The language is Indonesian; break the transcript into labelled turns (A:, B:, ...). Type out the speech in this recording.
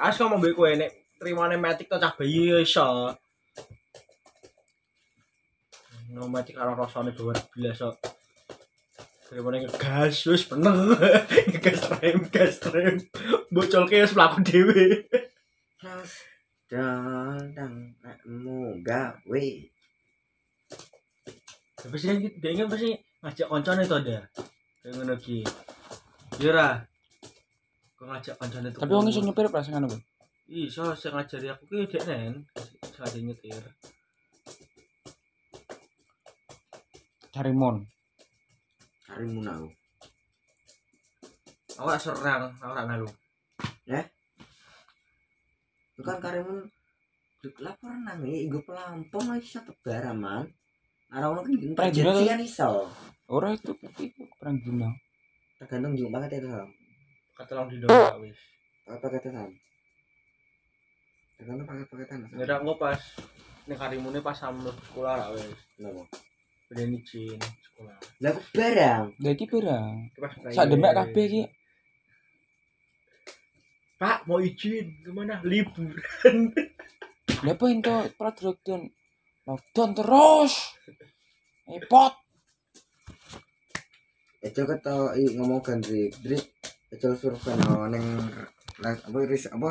A: Awas kok mbek kowe nek trimane metik to cah bayi ya iso. No metik karo rasane bawa belas kok. Trimane ngegas wis bener. Ngegas rem, gas rem. Bocolke wis mlaku dhewe.
B: Dadang eh, nekmu gawe.
A: Tapi sih dia ini pasti ngajak koncone to dia. Kayak ngono ki. Yura. Kok ngajak koncone tuh.
C: Tapi wong iso nyupir pas ngono kuwi.
A: Iso sing ngajari aku ki dek nen. Sekali nyetir.
C: Cari mon.
B: Karimu nau.
A: Aku gak serang, aku gak ngalu.
B: Bukan karimu duk lapor nang ya iku pelampung lah, iso tebar aman. Ana ono ki
C: Pernah juga
B: perjanjian iso.
C: Ora itu itu perang dunia.
B: Tergantung jumlah banget itu.
A: Katolong di doa wis.
B: Paket-paketan. Tergantung paket-paketan.
A: Ngira aku pas ning karimune pas sampe sekolah ra wis.
B: Kenapa?
A: Beden izin sekolah.
B: Lah aku barang.
C: Lah iki pira?
A: Ki Pas private.
C: Sak demek kabeh iki.
A: Pak mau izin kemana? Liburan.
C: Lah apa ento production lockdown terus. Eh, Repot.
B: Ejo ketok i ngomong gandrik. Drik ejo survei nang neng apa ris apa